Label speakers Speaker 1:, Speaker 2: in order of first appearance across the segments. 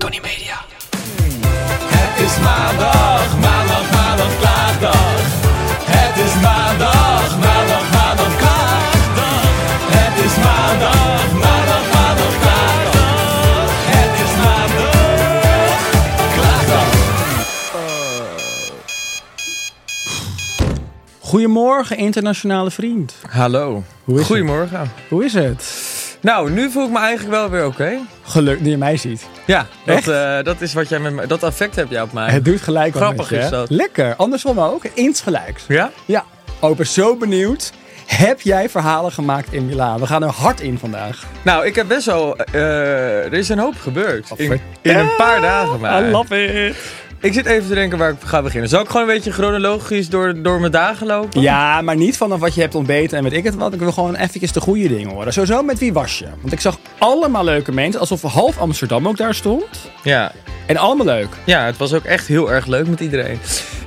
Speaker 1: Tony Media. Het is maandag, maandag, maandag, klaagdag. Het is maandag, maandag, maandag, klaagdag. Het is maandag, maandag, maandag, klaagdag. Het is maandag, klaagdag.
Speaker 2: Goedemorgen, internationale vriend.
Speaker 3: Hallo.
Speaker 2: is het?
Speaker 3: Goedemorgen.
Speaker 2: Hoe is het?
Speaker 3: Nou, nu voel ik me eigenlijk wel weer oké.
Speaker 2: Geluk dat je mij ziet.
Speaker 3: Ja,
Speaker 2: Echt?
Speaker 3: dat, eh, dat is wat jij met me, dat effect heb jij op mij.
Speaker 2: Het doet gelijk wat
Speaker 3: Grappig
Speaker 2: met je,
Speaker 3: is
Speaker 2: hè?
Speaker 3: dat.
Speaker 2: Lekker. Andersom ook. Eens gelijks.
Speaker 3: Ja?
Speaker 2: Ja. Oh, ik ben zo benieuwd. Heb jij verhalen gemaakt in Milaan? We gaan er hard in vandaag.
Speaker 3: Nou, ik heb best wel. eh, er is een hoop gebeurd. In, in
Speaker 2: vertel.
Speaker 3: een paar
Speaker 2: Ah,
Speaker 3: dagen maar.
Speaker 2: it.
Speaker 3: Ik zit even te denken waar ik ga beginnen. Zal ik gewoon een beetje chronologisch door, door mijn dagen lopen?
Speaker 2: Ja, maar niet vanaf wat je hebt ontbeten en weet ik het wat. Ik wil gewoon eventjes de goede dingen horen. Sowieso met wie was je? Want ik zag allemaal leuke mensen. Alsof half Amsterdam ook daar stond.
Speaker 3: Ja.
Speaker 2: En allemaal leuk.
Speaker 3: Ja, het was ook echt heel erg leuk met iedereen.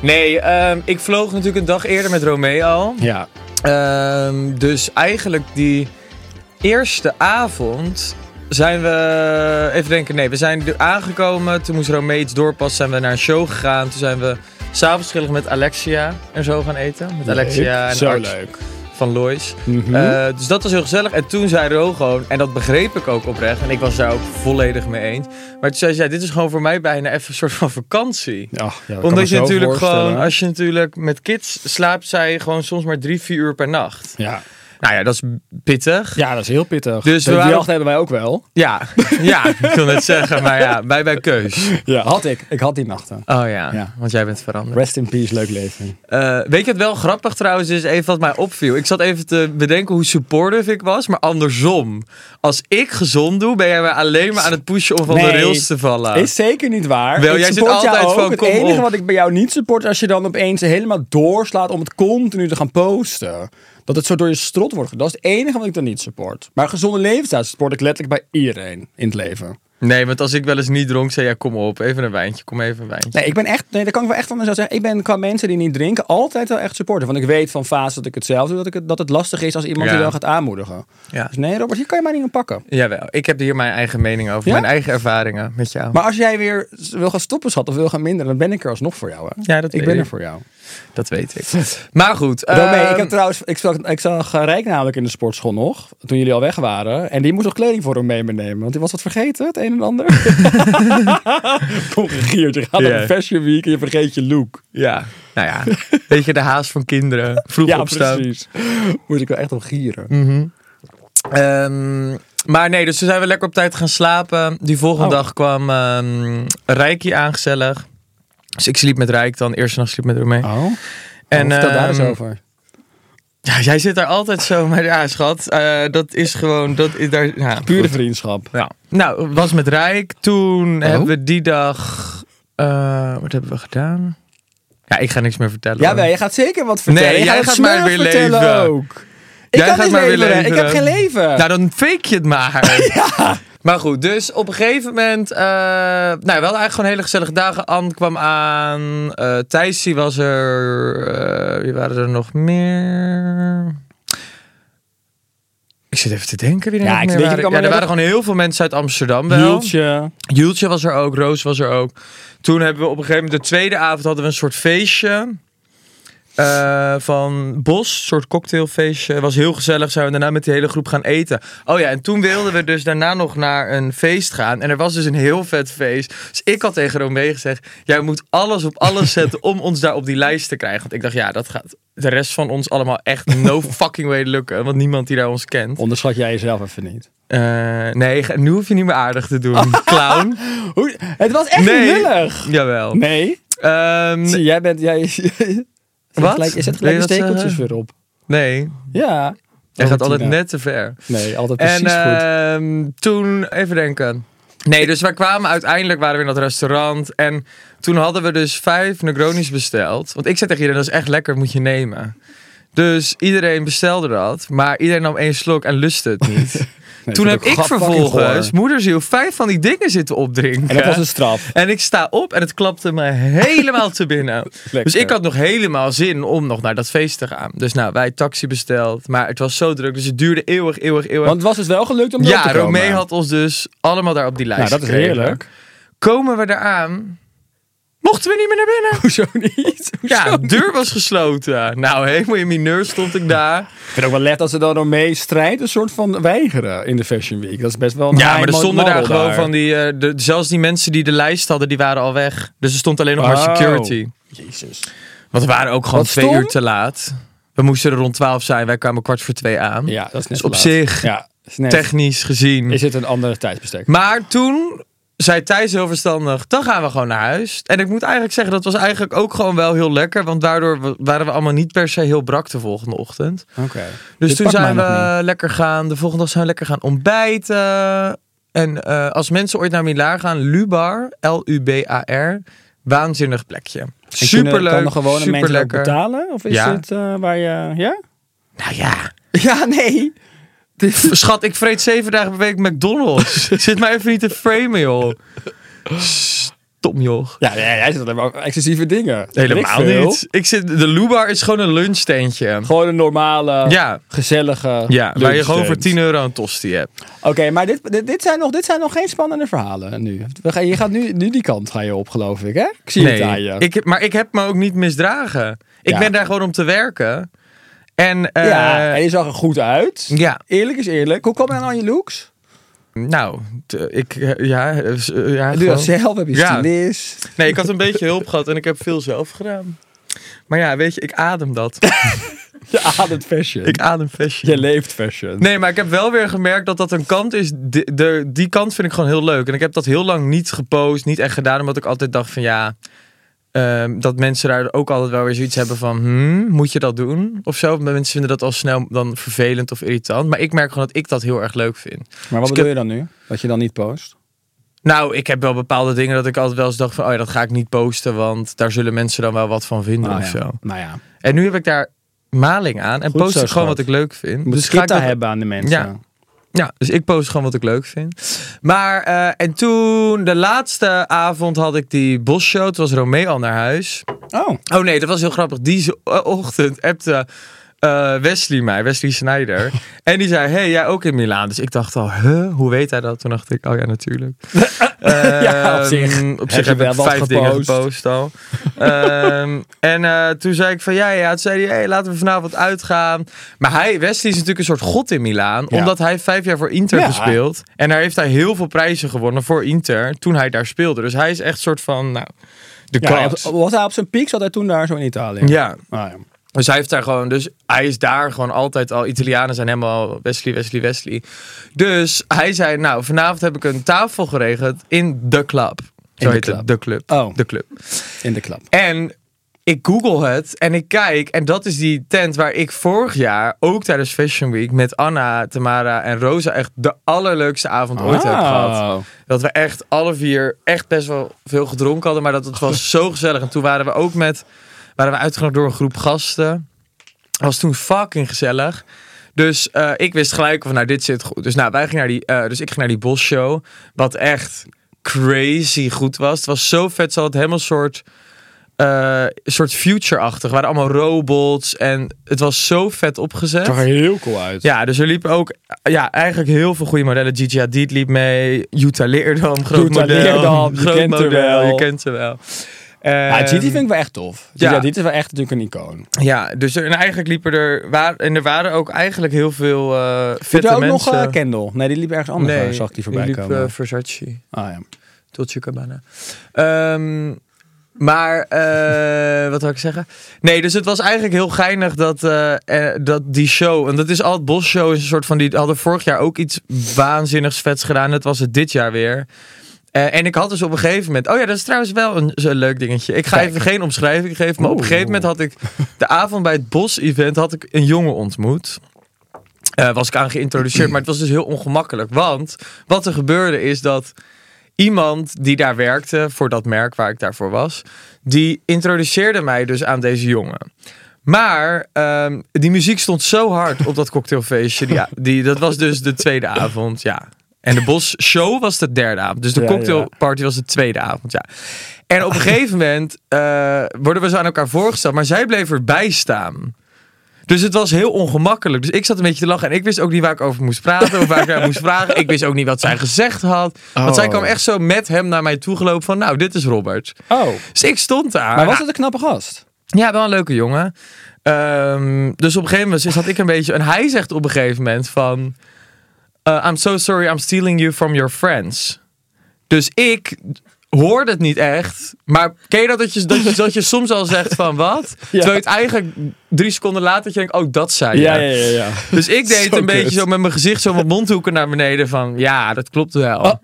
Speaker 3: Nee, ehm, ik vloog natuurlijk een dag eerder met Romeo al.
Speaker 2: Ja.
Speaker 3: Ehm, dus eigenlijk die eerste avond zijn we... Even denken, nee, we zijn er aangekomen. Toen moest Romee iets doorpassen, zijn we naar een show gegaan. Toen zijn we s'avonds gezellig met Alexia en zo gaan eten. Met Alexia en
Speaker 2: Zo
Speaker 3: Art
Speaker 2: leuk.
Speaker 3: van Lois.
Speaker 2: Mhm.
Speaker 3: Eh, dus dat was heel gezellig. En toen zei Ro gewoon, en dat begreep ik ook oprecht. En ik was daar ook volledig mee eens. Maar toen zei ze, ja, dit is gewoon voor mij bijna even een soort van vakantie.
Speaker 2: Ach, ja, dat kan me
Speaker 3: Omdat je
Speaker 2: zo
Speaker 3: natuurlijk gewoon,
Speaker 2: voorstellen.
Speaker 3: als je natuurlijk met kids slaapt, zij gewoon soms maar drie, vier uur per nacht.
Speaker 2: Ja.
Speaker 3: Nou ja, dat is pittig.
Speaker 2: ja, dat is heel pittig.
Speaker 3: Dus
Speaker 2: Dus
Speaker 3: we
Speaker 2: die
Speaker 3: waren-
Speaker 2: jacht hebben wij ook wel.
Speaker 3: Ja, ja ik wil net zeggen, maar ja, bij bij keus.
Speaker 2: Ja, had ik. Ik had die nachten.
Speaker 3: Oh ja,
Speaker 2: Ja.
Speaker 3: want jij bent veranderd.
Speaker 2: Rest in peace, leuk leven.
Speaker 3: Eh, weet je wat wel grappig trouwens is, even wat mij opviel? Ik zat even te bedenken hoe supportive ik was, maar andersom. Als ik gezond doe, ben jij mij alleen maar aan het pushen om van de
Speaker 2: Nee.
Speaker 3: rails te vallen.
Speaker 2: Is zeker niet waar.
Speaker 3: Wel,
Speaker 2: ik
Speaker 3: jij zit
Speaker 2: support jou
Speaker 3: altijd
Speaker 2: ook.
Speaker 3: van,
Speaker 2: Het
Speaker 3: kom
Speaker 2: enige
Speaker 3: op.
Speaker 2: wat ik bij jou niet support is als je dan opeens helemaal doorslaat om het continu te gaan posten. Dat het zo door je strot wordt. ge- Dat is het enige wat ik dan niet support. Maar gezonde levensstijl support ik letterlijk bij iedereen in het leven.
Speaker 3: Nee, want als ik wel eens niet dronk, zei jij, kom op, even een wijntje, kom even een wijntje.
Speaker 2: Nee, ik ben echt, nee, dat kan ik wel echt van mezelf zeggen. Ik ben qua mensen die niet drinken altijd wel echt supporter. Want ik weet van fase dat ik het zelf doe, dat, ik het, dat het lastig is als iemand
Speaker 3: Ja.
Speaker 2: je wel gaat aanmoedigen.
Speaker 3: Ja.
Speaker 2: Dus nee, Robert, hier kan je mij niet aan pakken.
Speaker 3: Jawel, ik heb hier mijn eigen mening over,
Speaker 2: Ja?
Speaker 3: mijn eigen ervaringen met jou.
Speaker 2: Maar als jij weer s- wil gaan stoppen, schat, of wil gaan minderen, dan ben ik er alsnog voor jou. Hè?
Speaker 3: Ja, dat
Speaker 2: ik
Speaker 3: weet
Speaker 2: ben
Speaker 3: ik.
Speaker 2: er voor jou.
Speaker 3: Dat weet ik. Maar goed.
Speaker 2: Romee,
Speaker 3: ehm,
Speaker 2: ik heb trouwens, ik zag, ik zag eh, Rijk namelijk in de sportschool nog, toen jullie al weg waren. En die moest nog kleding voor hem mee meenemen, want die was wat vergeten, het een en ander. Kom gegierd, je gaat
Speaker 3: Ja.
Speaker 2: op een fashion week en je vergeet je look.
Speaker 3: Ja, nou ja. Weet je, de haast van kinderen. Vroeg
Speaker 2: Ja,
Speaker 3: opstaan.
Speaker 2: precies. Moest ik wel echt op gieren.
Speaker 3: Ehm, maar nee, dus toen zijn we lekker op tijd gaan slapen. Die volgende
Speaker 2: Oh.
Speaker 3: dag kwam ehm Rijkie aangezellig. Dus ik sliep met Rijk dan. Eerste nacht sliep ik met Romee.
Speaker 2: Oh, en, vertel daar eens
Speaker 3: ehm,
Speaker 2: over.
Speaker 3: Ja, jij zit daar altijd zo. Maar ja, schat. eh, dat is gewoon... Dat is daar, ja,
Speaker 2: Pure Oh.
Speaker 3: goed.
Speaker 2: vriendschap.
Speaker 3: Ja. Nou, was met Rijk. Toen hebben we die dag... eh, wat hebben we gedaan? Ja, ik ga niks meer vertellen.
Speaker 2: Ja,
Speaker 3: hoor.
Speaker 2: wel, je gaat zeker wat vertellen.
Speaker 3: Nee,
Speaker 2: je
Speaker 3: jij
Speaker 2: gaat,
Speaker 3: gaat
Speaker 2: het smurf
Speaker 3: maar weer
Speaker 2: vertellen
Speaker 3: leven.
Speaker 2: ook. Ik
Speaker 3: Jij
Speaker 2: kan
Speaker 3: gaat
Speaker 2: niet
Speaker 3: maar weer
Speaker 2: leveren. Ik heb
Speaker 3: leveren.
Speaker 2: geen leven.
Speaker 3: Nou, dan fake je het maar. Maar goed, dus op een gegeven moment... eh, nou, we hadden eigenlijk gewoon hele gezellige dagen. Anne kwam aan. eh Thijs, die was er. eh, wie waren er nog meer? Ik zit even te denken wie er
Speaker 2: Ja,
Speaker 3: nog
Speaker 2: ik
Speaker 3: meer
Speaker 2: weet je,
Speaker 3: waren.
Speaker 2: ik kan
Speaker 3: Ja,
Speaker 2: me
Speaker 3: er
Speaker 2: net
Speaker 3: waren gewoon heel veel mensen uit Amsterdam wel.
Speaker 2: Hieltje.
Speaker 3: Jultje was er ook, Roos was er ook. Toen hebben we op een gegeven moment de tweede avond hadden we een soort feestje. eh, van Bos, een soort cocktailfeestje. Was heel gezellig. Zijn we daarna met die hele groep gaan eten. Oh ja, en toen wilden we dus daarna nog naar een feest gaan. En er was dus een heel vet feest. Dus ik had tegen Romee gezegd: Jij moet alles op alles zetten om ons daar op die lijst te krijgen. Want ik dacht, ja, dat gaat de rest van ons allemaal echt no fucking way lukken. Want niemand die daar ons kent.
Speaker 2: Onderschat jij jezelf even niet.
Speaker 3: Eh, nee, ge- nu hoef je niet meer aardig te doen, clown.
Speaker 2: Hoe, het was echt
Speaker 3: nee.
Speaker 2: lullig.
Speaker 3: Jawel.
Speaker 2: Nee.
Speaker 3: Ehm,
Speaker 2: Zie, jij bent... Jij,
Speaker 3: Wat?
Speaker 2: Gelijk, je zet
Speaker 3: Wil je
Speaker 2: gelijk de
Speaker 3: dat
Speaker 2: stekeltjes
Speaker 3: zeggen?
Speaker 2: weer op.
Speaker 3: nee,
Speaker 2: Ja.
Speaker 3: hij gaat altijd
Speaker 2: Tina.
Speaker 3: net te ver.
Speaker 2: Nee, altijd precies
Speaker 3: en
Speaker 2: goed.
Speaker 3: ehm, toen, even denken. Nee, dus wij kwamen uiteindelijk, waren we in dat restaurant. En toen hadden we dus vijf Negronis besteld. Want ik zei tegen iedereen, dat is echt lekker, moet je nemen. Dus iedereen bestelde dat. Maar iedereen nam één slok en lustte het niet.
Speaker 2: Nee,
Speaker 3: toen
Speaker 2: vind
Speaker 3: heb
Speaker 2: ook
Speaker 3: ik
Speaker 2: gat fucking
Speaker 3: vervolgens,
Speaker 2: goor.
Speaker 3: moederziel, vijf van die dingen zitten opdrinken.
Speaker 2: En dat was een straf.
Speaker 3: En ik sta op en het klapte me helemaal te binnen.
Speaker 2: Lekker.
Speaker 3: Dus ik had nog helemaal zin om nog naar dat feest te gaan. Dus nou, wij taxi besteld. Maar het was zo druk, dus het duurde eeuwig, eeuwig, eeuwig.
Speaker 2: Want het was dus wel gelukt om erop
Speaker 3: eh, ja,
Speaker 2: te komen.
Speaker 3: Romee had ons dus allemaal daar op die
Speaker 2: Nou,
Speaker 3: lijst
Speaker 2: dat is
Speaker 3: gekregen.
Speaker 2: heerlijk.
Speaker 3: Komen we eraan, mochten we niet meer naar binnen.
Speaker 2: Hoezo niet? Hoezo?
Speaker 3: Ja, de deur was gesloten. Nou, helemaal in mineur stond ik daar.
Speaker 2: Ik vind ook wel let dat ze daar dan mee strijden, een soort van weigeren in de Fashion Week. Dat is best wel een
Speaker 3: Ja, maar
Speaker 2: high
Speaker 3: er
Speaker 2: mo-
Speaker 3: stonden daar
Speaker 2: model
Speaker 3: gewoon van die... eh, de, zelfs die mensen die de lijst hadden, die waren al weg. Dus er stond alleen nog maar
Speaker 2: Oh.
Speaker 3: security.
Speaker 2: Jezus.
Speaker 3: Want we waren ook gewoon
Speaker 2: Wat
Speaker 3: twee
Speaker 2: stom.
Speaker 3: uur te laat. We moesten er rond twaalf zijn. Wij kwamen kwart voor twee aan.
Speaker 2: Ja, dat is net
Speaker 3: Dus
Speaker 2: te
Speaker 3: op
Speaker 2: laat.
Speaker 3: zich,
Speaker 2: Ja, is net-
Speaker 3: technisch gezien.
Speaker 2: is het een andere tijdsbestek.
Speaker 3: Maar toen zei Thijs heel verstandig, dan gaan we gewoon naar huis. En ik moet eigenlijk zeggen, dat was eigenlijk ook gewoon wel heel lekker. Want daardoor wa- waren we allemaal niet per se heel brak de volgende ochtend.
Speaker 2: Oké.
Speaker 3: Dus
Speaker 2: Dit
Speaker 3: toen
Speaker 2: pakt
Speaker 3: zijn
Speaker 2: mij nog niet.
Speaker 3: we lekker gaan, de volgende dag zijn we lekker gaan ontbijten. En eh, als mensen ooit naar Milaar gaan, Lubar, L-U-B-A-R, waanzinnig plekje.
Speaker 2: En kunnen-
Speaker 3: Superleuk,
Speaker 2: Kan de gewone mensen ook
Speaker 3: superlekker.
Speaker 2: betalen? Of is
Speaker 3: Ja.
Speaker 2: het eh, waar je... Ja?
Speaker 3: Nou ja,
Speaker 2: Ja, nee.
Speaker 3: Schat, ik vreet zeven dagen per week McDonald's. Zit mij even niet te framen, joh. Stom, joh.
Speaker 2: Ja, nee, jij zit alleen maar over excessieve dingen.
Speaker 3: Helemaal
Speaker 2: Weet ik veel.
Speaker 3: niet. Ik zit, de Lubar is gewoon een lunchtentje.
Speaker 2: Gewoon een normale,
Speaker 3: Ja.
Speaker 2: gezellige
Speaker 3: Ja, waar je gewoon
Speaker 2: lunchtent.
Speaker 3: voor 10 euro een tosti hebt.
Speaker 2: Oké, maar dit, dit, dit, zijn nog, dit zijn nog geen spannende verhalen nu. We gaan, je gaat nu, nu die kant ga je op, geloof ik, hè? Ik zie het aan je.
Speaker 3: ik, heb- maar ik heb me ook niet misdragen. Ik
Speaker 2: Ja.
Speaker 3: ben daar gewoon om te werken. En eh,
Speaker 2: ja, en je zag er goed uit.
Speaker 3: Ja.
Speaker 2: Eerlijk is eerlijk. Hoe kwam je aan je looks?
Speaker 3: nou, t- ik, eh, ja, eh, s- eh, ja
Speaker 2: Doe je
Speaker 3: gewoon.
Speaker 2: dat zelf? Heb je
Speaker 3: Ja.
Speaker 2: stylist?
Speaker 3: Nee, ik had een beetje hulp gehad en ik heb veel zelf gedaan. Maar ja, weet je, ik adem dat.
Speaker 2: Je ademt fashion.
Speaker 3: ik adem fashion.
Speaker 2: Je leeft fashion.
Speaker 3: Nee, maar ik heb wel weer gemerkt dat dat een kant is. De, de- die kant vind ik gewoon heel leuk. En ik heb dat heel lang niet gepost, niet echt gedaan. Omdat ik altijd dacht van ja, ehm, dat mensen daar ook altijd wel weer zoiets hebben van... Hmm, moet je dat doen? Of zo. Mensen vinden dat al snel dan vervelend of irritant. Maar ik merk gewoon dat ik dat heel erg leuk vind.
Speaker 2: Maar
Speaker 3: Dus
Speaker 2: wat
Speaker 3: ik
Speaker 2: bedoel
Speaker 3: heb-
Speaker 2: je dan nu? Dat je dan niet post?
Speaker 3: Nou, ik heb wel bepaalde dingen dat ik altijd wel eens dacht van... Oh ja, dat ga ik niet posten, want daar zullen mensen dan wel wat van vinden
Speaker 2: Nou
Speaker 3: of
Speaker 2: ja.
Speaker 3: zo. Dus
Speaker 2: Nou ja. Je
Speaker 3: En nu heb ik daar maling aan en
Speaker 2: Goed
Speaker 3: post
Speaker 2: zo,
Speaker 3: ik gewoon
Speaker 2: schat.
Speaker 3: wat ik leuk vind.
Speaker 2: Moet
Speaker 3: dus
Speaker 2: dus
Speaker 3: ga ik dat-
Speaker 2: hebben aan de mensen.
Speaker 3: Ja. Ja, dus ik post gewoon wat ik leuk vind. Maar, eh, en toen, de laatste avond had ik die bosshow. Toen was Romee al naar huis.
Speaker 2: Oh.
Speaker 3: Oh nee, dat was heel grappig. Die zo- eh, ochtend appte eh, Wesley mij, Wesley Snyder. en die zei, hey, jij ook in Milaan. Dus ik dacht al, huh, hoe weet hij dat? Toen dacht ik, oh ja, natuurlijk.
Speaker 2: Ja, op zich.
Speaker 3: Ehm,
Speaker 2: Heb
Speaker 3: Op
Speaker 2: je
Speaker 3: zich heb
Speaker 2: wel
Speaker 3: ik
Speaker 2: wat
Speaker 3: vijf dingen
Speaker 2: gepost.
Speaker 3: gepost al. Ehm, en eh, toen zei ik van, ja, ja. Toen zei hij, hey, laten we vanavond uitgaan. Maar hij, Wesley is natuurlijk een soort god in Milaan.
Speaker 2: Ja.
Speaker 3: Omdat hij vijf jaar voor Inter
Speaker 2: Ja.
Speaker 3: gespeeld. En daar heeft hij heel veel prijzen gewonnen voor Inter. Toen hij daar speelde. Dus hij is echt soort van, nou, de
Speaker 2: Ja,
Speaker 3: god.
Speaker 2: op- was hij op zijn piek? Zat hij toen daar zo in Italië?
Speaker 3: ja.
Speaker 2: Ah, ja.
Speaker 3: Dus hij heeft daar gewoon, dus hij is daar gewoon altijd al. Italianen zijn helemaal Wesley, Wesley, Wesley. Dus hij zei, nou, vanavond heb ik een tafel geregeld in de club. Zo
Speaker 2: de
Speaker 3: heet
Speaker 2: club.
Speaker 3: het, de club.
Speaker 2: Oh.
Speaker 3: De club.
Speaker 2: In de klap.
Speaker 3: En ik google het en ik kijk en dat is die tent waar ik vorig jaar ook tijdens Fashion Week met Anna, Tamara en Rosa echt de allerleukste avond
Speaker 2: Oh.
Speaker 3: ooit heb gehad. Dat we echt alle vier echt best wel veel gedronken hadden, maar dat het was zo gezellig. En toen waren we ook met, waren we uitgenodigd door een groep gasten. Dat was toen fucking gezellig. Dus eh, ik wist gelijk van, nou, dit zit goed. Dus, nou, wij gingen naar die, eh, dus ik ging naar die Bos Show, wat echt crazy goed was. Het was zo vet, ze hadden het helemaal soort, eh, soort future-achtig. Er waren allemaal robots en het was zo vet opgezet.
Speaker 2: Zag er heel cool uit.
Speaker 3: Ja, dus er liepen ook eh, ja, eigenlijk heel veel goede modellen. Gigi Hadid liep mee, Jutta Leerdam, groot
Speaker 2: Jutta
Speaker 3: model.
Speaker 2: Leerdam, je
Speaker 3: groot
Speaker 2: kent haar
Speaker 3: model,
Speaker 2: wel.
Speaker 3: je kent ze wel.
Speaker 2: Ja, Gigi
Speaker 3: Ehm,
Speaker 2: vind ik wel echt tof.
Speaker 3: ja.
Speaker 2: Ja. dit is wel echt natuurlijk een icoon.
Speaker 3: Ja, dus er, en eigenlijk liepen er... Waar, en er waren ook eigenlijk heel veel eh
Speaker 2: Zit
Speaker 3: fitte
Speaker 2: er ook
Speaker 3: mensen.
Speaker 2: nog eh, Kendall? Nee, die liep ergens anders. Nee, zag ik die voorbij
Speaker 3: liep,
Speaker 2: komen.
Speaker 3: eh, Versace.
Speaker 2: ah, ja.
Speaker 3: Dolce Gabbana. Ehm, maar, eh, wat wil ik zeggen? Nee, dus het was eigenlijk heel geinig dat, eh, eh, dat die show... En dat is al het Bos Show, is een soort van... Die hadden vorig jaar ook iets waanzinnigs vets gedaan. Dat was het dit jaar weer. Eh, en ik had dus op een gegeven moment... Oh ja, dat is trouwens wel een, zo'n leuk dingetje. Ik ga even geen omschrijving geven. Maar op een gegeven moment had ik... De avond bij het Bos-event had ik een jongen ontmoet. Eh, was ik aan geïntroduceerd. maar het was dus heel ongemakkelijk. Want wat er gebeurde is dat iemand die daar werkte voor dat merk waar ik daarvoor was, die introduceerde mij dus aan deze jongen. Maar ehm, die muziek stond zo hard op dat cocktailfeestje. Die, die, dat was dus de tweede avond, ja. En de Bos Show was de derde avond. Dus de
Speaker 2: Ja,
Speaker 3: cocktailparty was de tweede avond, ja. En op een gegeven moment eh, worden we zo aan elkaar voorgesteld. Maar zij bleef erbij staan. Dus het was heel ongemakkelijk. Dus ik zat een beetje te lachen. En ik wist ook niet waar ik over moest praten. Of waar ik naar moest vragen. Ik wist ook niet wat zij gezegd had. Want zij
Speaker 2: Oh.
Speaker 3: kwam echt zo met hem naar mij toegelopen. Van nou, dit is Robert.
Speaker 2: Oh,
Speaker 3: Dus ik stond daar.
Speaker 2: maar was het een knappe gast?
Speaker 3: Ja, wel een leuke jongen. Ehm, dus op een gegeven moment zat ik een beetje... En hij zegt op een gegeven moment van... eh, I'm so sorry, I'm stealing you from your friends. Dus ik hoorde het niet echt. Maar ken je dat dat je, dat je, dat je soms al zegt van wat? Terwijl je het eigenlijk drie seconden later dat je denkt... Oh, dat zei je.
Speaker 2: ja.
Speaker 3: Dus ik deed
Speaker 2: Zo
Speaker 3: een beetje
Speaker 2: kut.
Speaker 3: zo met mijn gezicht, zo mijn mondhoeken naar beneden van... Ja, dat klopt wel.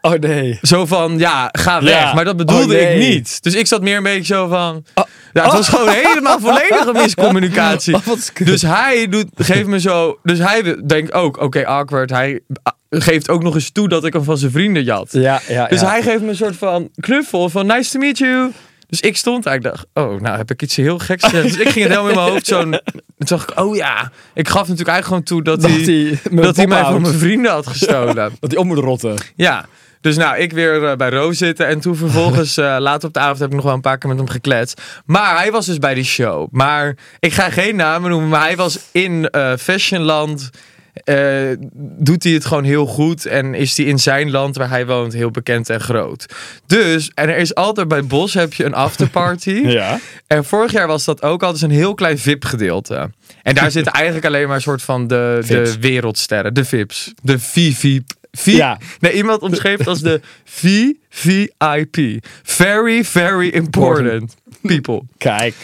Speaker 2: Oh nee.
Speaker 3: Zo van, ja, ga weg.
Speaker 2: Ja.
Speaker 3: Maar dat bedoelde
Speaker 2: Oh, nee.
Speaker 3: ik niet. Dus ik zat meer een beetje zo van... Ja, het was gewoon helemaal volledige miscommunicatie.
Speaker 2: Oh, wat kut.
Speaker 3: dus hij doet, geeft me zo... Dus hij denkt ook, oké, awkward. Hij ah, geeft ook nog eens toe dat ik hem van zijn vrienden jat.
Speaker 2: Ja, ja,
Speaker 3: dus
Speaker 2: ja.
Speaker 3: hij geeft me een soort van knuffel van nice to meet you. Dus ik stond daar, ik dacht, oh, nou heb ik iets heel geks gezegd. Dus ik ging het helemaal in mijn hoofd zo'n... Toen dacht ik, oh ja. Ik gaf natuurlijk eigenlijk gewoon toe dat,
Speaker 2: Dat
Speaker 3: hij,
Speaker 2: hij mijn
Speaker 3: dat hij
Speaker 2: pop
Speaker 3: mij van
Speaker 2: houdt.
Speaker 3: mijn vrienden had gestolen.
Speaker 2: Dat die om moet rotten.
Speaker 3: Ja, dus nou, ik weer eh, bij Roos zitten. En toen vervolgens, eh later op de avond, heb ik nog wel een paar keer met hem gekletst. Maar hij was dus bij die show. Maar ik ga geen namen noemen, maar hij was in eh, Fashionland. eh, doet hij het gewoon heel goed en is hij in zijn land waar hij woont heel bekend en groot. Dus, en er is altijd bij Bos heb je een afterparty.
Speaker 2: Ja.
Speaker 3: En vorig jaar was dat ook al, dus een heel klein VIP-gedeelte. En daar zitten eigenlijk alleen maar een soort van de, de
Speaker 2: Vips.
Speaker 3: wereldsterren, de VIPs. De VVIP. V
Speaker 2: Ja.
Speaker 3: Nee, iemand omschreef het als de VVIP. Very, very important people.
Speaker 2: Kijk.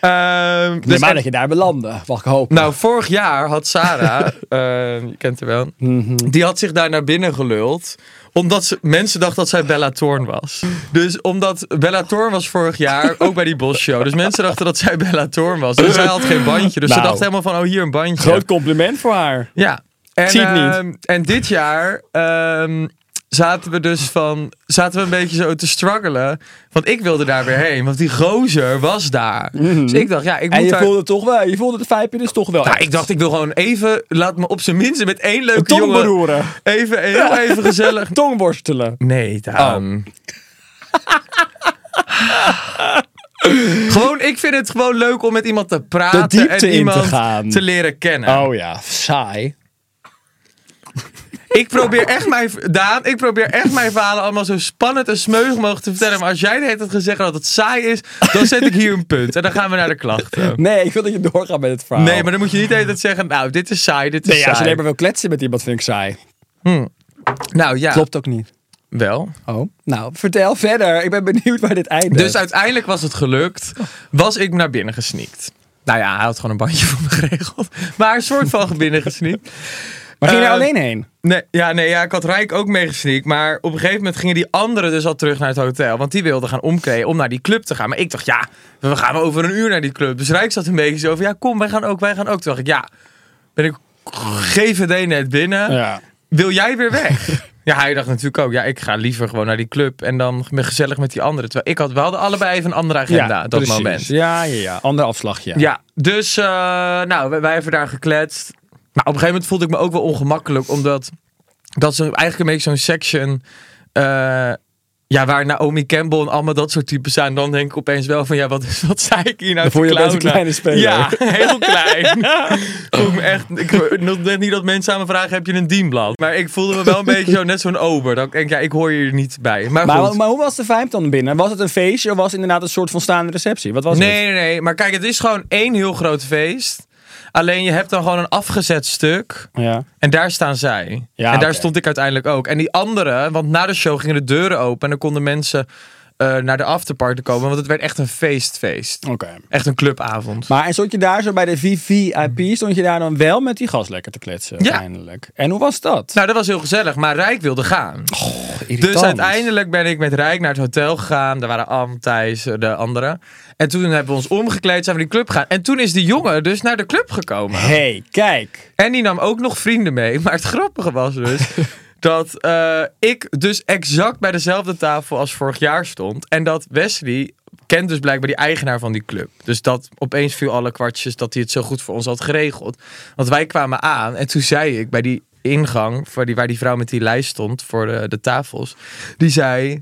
Speaker 3: Ehm,
Speaker 2: Nee,
Speaker 3: dus
Speaker 2: maar
Speaker 3: en-
Speaker 2: dat je daar belandde. Wacht, ik hoop.
Speaker 3: nou, vorig jaar had Sarah, ehm, je kent haar wel,
Speaker 2: Mhm.
Speaker 3: die had zich daar naar binnen geluld omdat ze, mensen dachten dat zij Bella Thorne was. Dus omdat Bella Thorne was vorig jaar, ook bij die Bos Show. Dus mensen dachten dat zij Bella Thorne was. Dus zij had geen bandje. Dus ze
Speaker 2: Nou.
Speaker 3: dachten helemaal van, oh hier een bandje.
Speaker 2: Groot compliment voor haar.
Speaker 3: Ja. En,
Speaker 2: zie het niet.
Speaker 3: ehm, en dit jaar ehm, zaten we dus van, zaten we een beetje zo te struggelen. Want ik wilde daar weer heen, want die gozer was daar. Dus ik dacht, ja, ik moet
Speaker 2: Mhm. En je
Speaker 3: daar...
Speaker 2: voelde het toch wel. Je voelde de vijpje dus toch wel.
Speaker 3: Nou,
Speaker 2: echt.
Speaker 3: ik dacht, ik wil gewoon even, laat me op zijn minst met één leuke
Speaker 2: Een tong
Speaker 3: jongen...
Speaker 2: beroeren.
Speaker 3: Even, heel even gezellig.
Speaker 2: Tong worstelen.
Speaker 3: Nee,
Speaker 2: Oh.
Speaker 3: Daan. gewoon, ik vind het gewoon leuk om met iemand te praten
Speaker 2: Oh. De diepte
Speaker 3: en
Speaker 2: in te
Speaker 3: iemand
Speaker 2: gaan.
Speaker 3: te leren kennen.
Speaker 2: Oh ja, saai.
Speaker 3: Ik probeer echt mijn, Daan, ik probeer echt mijn verhalen allemaal zo spannend en smeuig mogelijk te vertellen. Maar als jij de hele tijd gezegd dat het saai is, dan zet ik hier een punt. En dan gaan we naar de klachten.
Speaker 2: Nee, ik wil dat je doorgaat met het verhaal.
Speaker 3: Nee, maar dan moet je niet de hele tijd zeggen, nou, dit is saai, dit is
Speaker 2: Nee, ja, als je
Speaker 3: saai.
Speaker 2: alleen maar wil kletsen met iemand, vind ik saai.
Speaker 3: Nou ja,
Speaker 2: Klopt ook niet.
Speaker 3: wel.
Speaker 2: Oh. Nou, vertel verder. Ik ben benieuwd waar dit eindigt.
Speaker 3: Dus uiteindelijk was het gelukt. Was ik naar binnen gesneakt. Nou ja, hij had gewoon een bandje voor me geregeld. Maar een soort van binnen gesneakt.
Speaker 2: maar ging je daar
Speaker 3: eh,
Speaker 2: alleen heen?
Speaker 3: Nee, ja, nee, ja, ik had Rijk ook meegesneakt. Maar op een gegeven moment gingen die anderen dus al terug naar het hotel. Want die wilden gaan omkleden om naar die club te gaan. Maar ik dacht, ja, we gaan over een uur naar die club. Dus Rijk zat een beetje zo van, ja, kom, wij gaan ook, wij gaan ook. Toen dacht ik, ja, ben ik GVD net binnen.
Speaker 2: Ja.
Speaker 3: Wil jij weer weg? ja, hij dacht natuurlijk ook, ja, ik ga liever gewoon naar die club. En dan me- gezellig met die anderen. Terwijl ik had, we hadden allebei even een andere agenda dat
Speaker 2: precies.
Speaker 3: moment.
Speaker 2: Ja, ja, ja. Ander afslagje.
Speaker 3: Ja, dus eh, nou, wij, wij hebben daar gekletst. Maar op een gegeven moment voelde ik me ook wel ongemakkelijk, omdat dat is een- eigenlijk een beetje zo'n section. eh, Ja, waar Naomi Campbell en allemaal dat soort types zijn, dan denk ik opeens wel van ja, wat, is, wat zei ik hier nou?
Speaker 2: Dan
Speaker 3: te
Speaker 2: voel je je opeens een
Speaker 3: clownen?
Speaker 2: kleine speler.
Speaker 3: Ja, heel klein. voel ik me echt, ik nog net niet dat mensen aan me vragen, heb je een dienblad? Maar ik voelde me wel een beetje zo, net zo'n ober. Dat ik denk, ja, ik hoor hier niet bij. Maar,
Speaker 2: Maar,
Speaker 3: goed.
Speaker 2: maar hoe was de vibe dan binnen? Was het een feestje of was het inderdaad een soort van staande receptie? Wat was het?
Speaker 3: Nee, nee, nee. Maar kijk, het is gewoon één heel groot feest. Alleen je hebt dan gewoon een afgezet stuk.
Speaker 2: Ja.
Speaker 3: En daar staan zij.
Speaker 2: Ja,
Speaker 3: en daar
Speaker 2: oké.
Speaker 3: stond ik uiteindelijk ook. En die andere, want na de show gingen de deuren open. En dan konden mensen eh, naar de afterparty komen. Want het werd echt een feestfeest.
Speaker 2: Oké.
Speaker 3: Echt een clubavond.
Speaker 2: Maar en stond je daar zo bij de VVIP, stond je daar dan wel met die gast lekker te kletsen
Speaker 3: Ja.
Speaker 2: uiteindelijk? En hoe was dat?
Speaker 3: nou, dat was heel gezellig. Maar Rijk wilde gaan.
Speaker 2: Oh, Irritant.
Speaker 3: Dus uiteindelijk ben ik met Rijk naar het hotel gegaan. Daar waren Am, Thijs, eh, de anderen. En toen hebben we ons omgekleed, zijn we die club gegaan. En toen is die jongen dus naar de club gekomen.
Speaker 2: hey, kijk.
Speaker 3: En die nam ook nog vrienden mee. Maar het grappige was dus dat eh, ik dus exact bij dezelfde tafel als vorig jaar stond. En dat Wesley kent dus blijkbaar die eigenaar van die club. Dus dat opeens viel alle kwartjes dat hij het zo goed voor ons had geregeld. Want wij kwamen aan en toen zei ik bij die ingang, waar die, waar die vrouw met die lijst stond voor de, de tafels, die zei...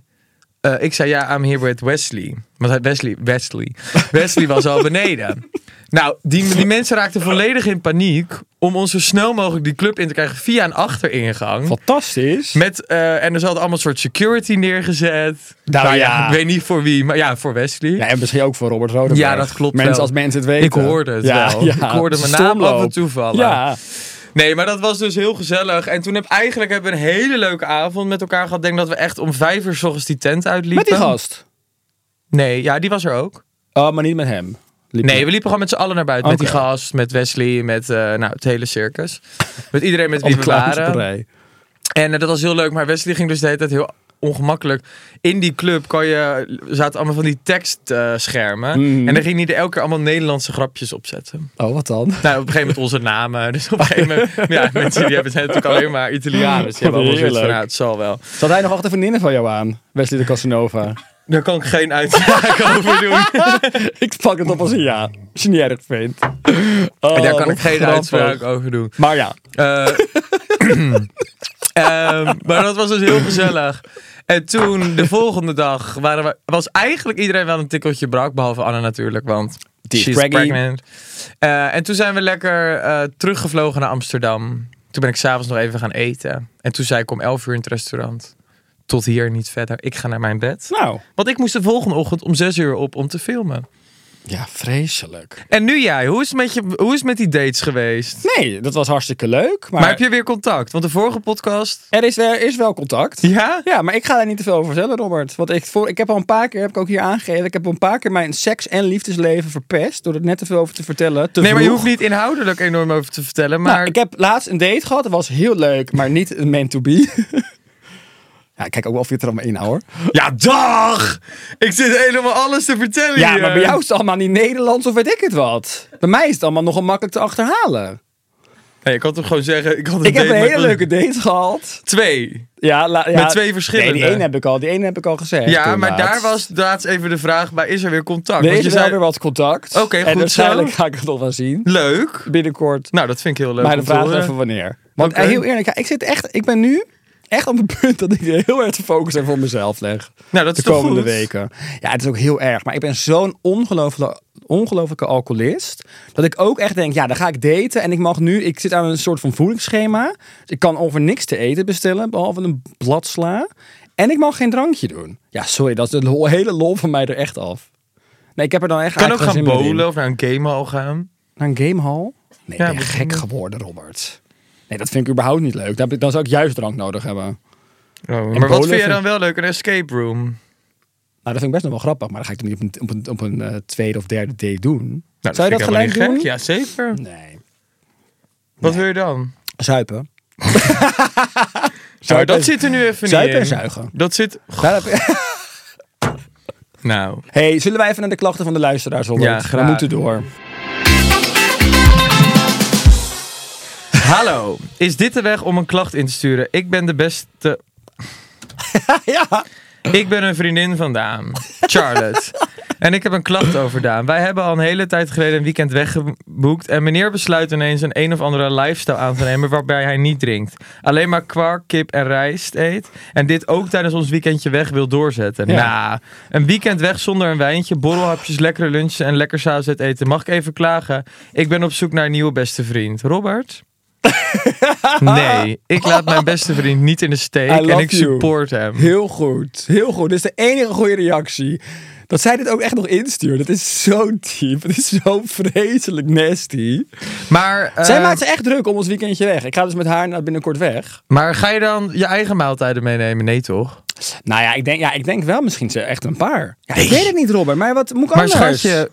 Speaker 3: eh, ik zei ja, I'm here with Wesley. Want hij- Wesley, Wesley. Wesley was al beneden. Nou, die, die mensen raakten volledig in paniek om ons zo snel mogelijk die club in te krijgen via een achteringang.
Speaker 2: Fantastisch.
Speaker 3: Met, eh, en er zat allemaal een soort security neergezet.
Speaker 2: Nou ja.
Speaker 3: Ik weet niet voor wie, maar ja, voor Wesley.
Speaker 2: Ja, en misschien ook voor Robert Rodenberg.
Speaker 3: Ja, dat klopt
Speaker 2: Mensen
Speaker 3: wel.
Speaker 2: als mensen het weten.
Speaker 3: Ik hoorde het wel. Ik hoorde mijn naam
Speaker 2: Stormloop.
Speaker 3: af en toe vallen.
Speaker 2: Ja.
Speaker 3: Nee, maar dat was dus heel gezellig. En toen heb, eigenlijk hebben we een hele leuke avond met elkaar gehad. Ik denk dat we echt om vijf uur 's ochtends die tent uitliepen.
Speaker 2: Met die gast.
Speaker 3: Nee, ja, die was er ook.
Speaker 2: Oh, maar niet met hem. Liep
Speaker 3: Nee,
Speaker 2: je-
Speaker 3: we liepen gewoon met z'n allen naar buiten. Met
Speaker 2: Oké.
Speaker 3: die gast, met Wesley, met eh, nou, het hele circus. Met iedereen met wie
Speaker 2: op
Speaker 3: we eh,
Speaker 2: Klaarse
Speaker 3: waren.
Speaker 2: Prij.
Speaker 3: En eh, dat was heel leuk. Maar Wesley ging dus de hele tijd heel ongemakkelijk. In die club kan je, zaten allemaal van die tekstschermen.
Speaker 2: Mhm.
Speaker 3: En dan ging hij er elke keer allemaal Nederlandse grapjes op zetten.
Speaker 2: Oh, wat dan?
Speaker 3: Nou, op een gegeven moment onze namen. Dus op een gegeven moment... Ja, mensen die hebben, zijn natuurlijk alleen maar Italianen. Dus die hebben allemaal zoiets van,
Speaker 2: Heerlijk.
Speaker 3: nou, het zal wel.
Speaker 2: Zat hij nog achter vriendinnen van jou aan? Wesley de Casanova.
Speaker 3: Daar kan ik geen uitspraak over doen.
Speaker 2: Oh, ik pak het op als een ja. Als je niet erg vindt. Oh,
Speaker 3: Daar
Speaker 2: wat
Speaker 3: kan ik geen
Speaker 2: grappig.
Speaker 3: uitspraak over doen.
Speaker 2: Maar ja.
Speaker 3: Eh, ehm, maar dat was dus heel gezellig. En toen, de volgende dag, waren we, was eigenlijk iedereen wel een tikkeltje brak. Behalve Anne natuurlijk, want
Speaker 2: Die is
Speaker 3: she's
Speaker 2: preggy.
Speaker 3: pregnant. Eh, en toen zijn we lekker eh, teruggevlogen naar Amsterdam. Toen ben ik s'avonds nog even gaan eten. En toen zei ik om 11 uur in het restaurant. Tot hier, niet verder. Ik ga naar mijn bed.
Speaker 2: Nou.
Speaker 3: Want ik moest de volgende ochtend om 6 uur op om te filmen.
Speaker 2: Ja, vreselijk.
Speaker 3: En nu jij, hoe is het met, je, hoe is het met die dates geweest?
Speaker 2: Nee, dat was hartstikke leuk. Maar,
Speaker 3: Maar heb je weer contact? Want de vorige podcast...
Speaker 2: er, is, er is wel contact.
Speaker 3: Ja?
Speaker 2: Ja, maar ik ga daar niet te veel over vertellen, Robert. Want ik, voor, ik heb al een paar keer, heb ik ook hier aangegeven, ik heb al een paar keer mijn seks- en liefdesleven verpest door er net te veel over te vertellen. Te
Speaker 3: Nee, maar je
Speaker 2: vroeg.
Speaker 3: hoeft niet inhoudelijk enorm over te vertellen. Maar
Speaker 2: Nou, ik heb laatst een date gehad, dat was heel leuk, maar niet een meant to be. ja, ik kijk ook wel of je het er allemaal in houdt.
Speaker 3: Ja, dag! Ik zit helemaal alles te vertellen
Speaker 2: Ja,
Speaker 3: hier.
Speaker 2: maar bij jou is het allemaal niet Nederlands of weet ik het wat. Bij mij is het allemaal nogal makkelijk te achterhalen.
Speaker 3: Nee, ik kan toch gewoon zeggen... Ik, had een
Speaker 2: Ik heb
Speaker 3: date
Speaker 2: een
Speaker 3: met
Speaker 2: hele leuke date gehad.
Speaker 3: Twee.
Speaker 2: Ja, la- ja,
Speaker 3: Met twee verschillende.
Speaker 2: Nee, die ene heb ik al, die ene heb ik al gezegd.
Speaker 3: ja,
Speaker 2: toen
Speaker 3: maar
Speaker 2: laatst.
Speaker 3: daar was laatst even de vraag bij... Is er weer contact?
Speaker 2: Er
Speaker 3: Want
Speaker 2: is
Speaker 3: je
Speaker 2: wel
Speaker 3: zei...
Speaker 2: weer wat contact.
Speaker 3: Oké,
Speaker 2: en
Speaker 3: goed zo.
Speaker 2: waarschijnlijk ga ik het nog wel zien.
Speaker 3: Leuk.
Speaker 2: Binnenkort.
Speaker 3: Nou, dat vind ik heel leuk
Speaker 2: Maar
Speaker 3: om
Speaker 2: de
Speaker 3: te
Speaker 2: vraag is
Speaker 3: horen.
Speaker 2: even wanneer. Want
Speaker 3: Oké.
Speaker 2: eh, heel eerlijk, ja, ik zit echt, ik ben nu echt op het punt dat ik heel erg de focus even op mezelf leg.
Speaker 3: Nou, dat is
Speaker 2: de
Speaker 3: toch
Speaker 2: komende
Speaker 3: goed?
Speaker 2: weken. Ja, het is ook heel erg. Maar ik ben zo'n ongelooflijke, ongelooflijke alcoholist. Dat ik ook echt denk, ja, dan ga ik daten. En ik mag nu, ik zit aan een soort van voedingsschema. Dus ik kan over niks te eten bestellen, behalve een bladsla. En ik mag geen drankje doen. Ja, sorry, dat is de lo- hele lol van mij er echt af. Nee, ik heb er dan echt
Speaker 3: Ik kan ook
Speaker 2: eigenlijk
Speaker 3: gaan
Speaker 2: geen zin meer in.
Speaker 3: bowlen of naar een gamehall gaan.
Speaker 2: Naar een gamehall? Nee,
Speaker 3: Ja,
Speaker 2: ik ben
Speaker 3: moet je
Speaker 2: gek
Speaker 3: doen.
Speaker 2: geworden, Robert. Nee, dat vind ik überhaupt niet leuk. Dan, heb ik- dan zou ik juist drank nodig hebben.
Speaker 3: maar wat
Speaker 2: bowlen
Speaker 3: vind jij
Speaker 2: vind-
Speaker 3: dan wel leuk? Een escape room?
Speaker 2: Nou, dat vind ik best nog wel grappig. Maar dan ga ik het niet op een, op een, op een eh, tweede of derde date doen.
Speaker 3: Nou,
Speaker 2: zou je
Speaker 3: vind ik helemaal
Speaker 2: dat gelijk
Speaker 3: niet
Speaker 2: doen?
Speaker 3: gek. Ja, zeker.
Speaker 2: Nee.
Speaker 3: Wat wil je dan?
Speaker 2: Zuipen.
Speaker 3: Nou, dat
Speaker 2: en-
Speaker 3: zit er nu even niet
Speaker 2: Zuipen en
Speaker 3: in.
Speaker 2: zuigen.
Speaker 3: Dat zit...
Speaker 2: Daar heb-
Speaker 3: Nou...
Speaker 2: hey, zullen wij even naar de klachten van de luisteraars, Robert?
Speaker 3: Ja, graag.
Speaker 2: We moeten door.
Speaker 3: Hallo, is dit de weg om een klacht in te sturen? Ik ben de beste.
Speaker 2: ja.
Speaker 3: Ik ben een vriendin van Daan, Charlotte. En ik heb een klacht over Daan. Wij hebben al een hele tijd geleden een weekend weggeboekt. En meneer besluit ineens een een of andere lifestyle aan te nemen waarbij hij niet drinkt. Alleen maar kwark, kip en rijst eet. En dit ook tijdens ons weekendje weg wil doorzetten.
Speaker 2: Ja.
Speaker 3: Nou, een weekend weg zonder een wijntje, borrelhapjes, lekkere lunchen en lekker saus uit eten. Mag ik even klagen? Ik ben op zoek naar een nieuwe beste vriend. Robert? Nee, ik laat mijn beste vriend niet in de steek
Speaker 2: I
Speaker 3: en
Speaker 2: love
Speaker 3: ik
Speaker 2: you.
Speaker 3: support hem.
Speaker 2: Heel goed, heel goed. Dit is de enige goede reactie. Dat zij dit ook echt nog instuurt, dat is zo diep. Het is zo vreselijk nasty.
Speaker 3: Maar, eh,
Speaker 2: zij maakt ze echt druk om ons weekendje weg. Ik ga dus met haar nou binnenkort weg.
Speaker 3: maar ga je dan je eigen maaltijden meenemen? Nee toch?
Speaker 2: Nou ja, ik denk, ja, ik denk wel misschien ze echt een paar. Ja, Ik weet het niet, Robert, maar wat moet ik
Speaker 3: Maar
Speaker 2: anders?
Speaker 3: schatje,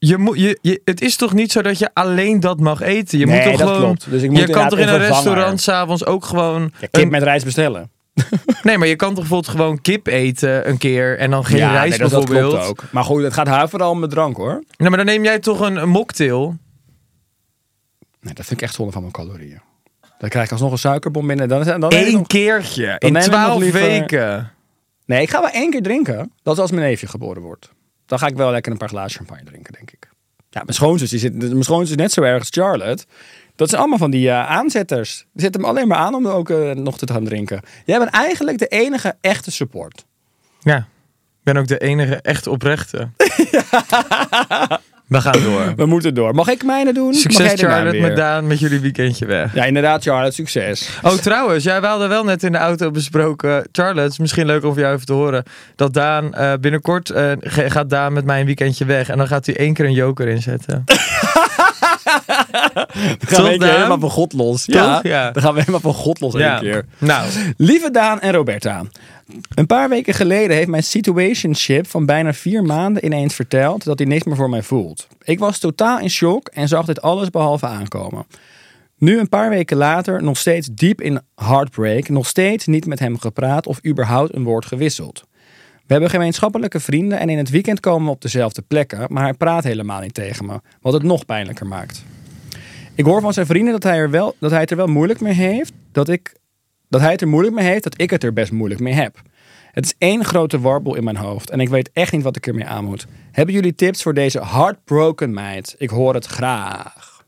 Speaker 3: je moet, je, je, het is toch niet zo dat je alleen dat mag eten? Je
Speaker 2: Nee,
Speaker 3: moet toch
Speaker 2: dat
Speaker 3: gewoon,
Speaker 2: klopt. Dus ik moet
Speaker 3: je kan
Speaker 2: inderdaad
Speaker 3: toch in een
Speaker 2: een vervanger.
Speaker 3: restaurant s'avonds ook gewoon...
Speaker 2: Ja, kip
Speaker 3: een-
Speaker 2: met rijst bestellen.
Speaker 3: nee, maar je kan toch bijvoorbeeld gewoon kip eten een keer en dan geen
Speaker 2: ja,
Speaker 3: rijst
Speaker 2: nee, dat, dat
Speaker 3: bijvoorbeeld?
Speaker 2: klopt ook. Maar goed, het gaat haar vooral om de drank hoor.
Speaker 3: Nee, maar dan neem jij toch een, een mocktail?
Speaker 2: Nee, dat vind ik echt zonde van mijn calorieën. Dan krijg ik alsnog een suikerbom binnen. Dan, dan
Speaker 3: Eén keertje in
Speaker 2: neem ik nog
Speaker 3: twaalf
Speaker 2: liever-
Speaker 3: weken.
Speaker 2: Nee, ik ga wel één keer drinken. Dat is als mijn neefje geboren wordt. Dan ga ik wel lekker een paar glazen champagne drinken, denk ik. Ja, mijn schoonzus, die zit, mijn schoonzus is net zo erg als Charlotte. Dat zijn allemaal van die eh, aanzetters. Die zetten hem alleen maar aan om ook eh, nog te gaan drinken. Jij bent eigenlijk de enige echte support.
Speaker 3: Ja, ik ben ook de enige echt oprechte. We gaan door.
Speaker 2: We moeten door. Mag ik mijne doen? Mag jij
Speaker 3: Succes
Speaker 2: de mijne
Speaker 3: Charlotte
Speaker 2: weer?
Speaker 3: met Daan met jullie weekendje weg.
Speaker 2: Ja, inderdaad, Charlotte, succes.
Speaker 3: Oh, trouwens, jij we hadden wel net in de auto besproken, Charlotte, het is misschien leuk om voor jou even te horen, dat Daan eh, binnenkort eh, ge- gaat Daan met mij een weekendje weg en dan gaat hij één keer een joker inzetten.
Speaker 2: Dan gaan we een keer
Speaker 3: Daan?
Speaker 2: helemaal van God los.
Speaker 3: Toch? Ja.
Speaker 2: Dan gaan we helemaal van God los één keer.
Speaker 3: Nou,
Speaker 2: Lieve Daan en Roberta. Een paar weken geleden heeft mijn situationship van bijna vier maanden ineens verteld dat hij niks meer voor mij voelt. Ik was totaal in shock en zag dit alles behalve aankomen. Nu een paar weken later nog steeds diep in heartbreak, nog steeds niet met hem gepraat of überhaupt een woord gewisseld. We hebben gemeenschappelijke vrienden en in het weekend komen we op dezelfde plekken, maar hij praat helemaal niet tegen me, wat het nog pijnlijker maakt. Ik hoor van zijn vrienden dat hij, er wel, dat hij het er wel moeilijk mee heeft. Dat, ik, dat hij het er moeilijk mee heeft, dat ik het er best moeilijk mee heb. Het is één grote warboel in mijn hoofd en ik weet echt niet wat ik ermee aan moet. Hebben jullie tips voor deze heartbroken meid? Ik hoor het graag.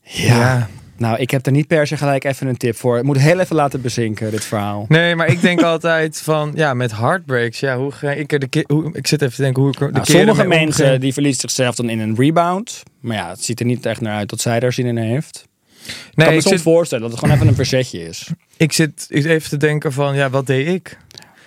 Speaker 2: Ja. Nou, ik heb er niet per se gelijk even een tip voor. Ik moet heel even laten bezinken, dit verhaal.
Speaker 3: nee, maar ik denk altijd van, ja, met heartbreaks, ja, hoe ga ik er de ki- hoe, Ik zit even te denken hoe ik er de
Speaker 2: Nou,
Speaker 3: keren
Speaker 2: sommige
Speaker 3: mee omging.
Speaker 2: mensen die verliezen zichzelf dan in een rebound. Maar ja, het ziet er niet echt naar uit dat zij daar zin in heeft.
Speaker 3: Nee,
Speaker 2: ik kan me
Speaker 3: ik
Speaker 2: soms
Speaker 3: zit,
Speaker 2: voorstellen dat het gewoon even een verzetje is.
Speaker 3: ik zit even te denken van, ja, wat deed ik?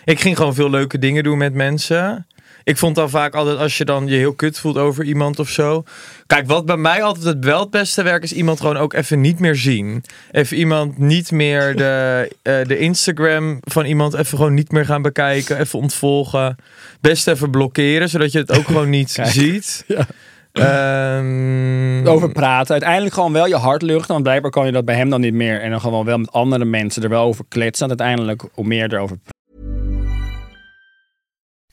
Speaker 3: Ik ging gewoon veel leuke dingen doen met mensen. Ik vond dan vaak altijd, als je dan je heel kut voelt over iemand of zo. Kijk, wat bij mij altijd het wel het beste werkt, is iemand gewoon ook even niet meer zien. Even iemand niet meer de, eh, de Instagram van iemand even gewoon niet meer gaan bekijken. Even ontvolgen. Best even blokkeren, zodat je het ook gewoon niet ziet. Ehm,
Speaker 2: Over praten. Uiteindelijk gewoon wel je hart luchten. Want blijkbaar kan je dat bij hem dan niet meer. En dan gewoon wel met andere mensen er wel over kletsen. En uiteindelijk hoe meer erover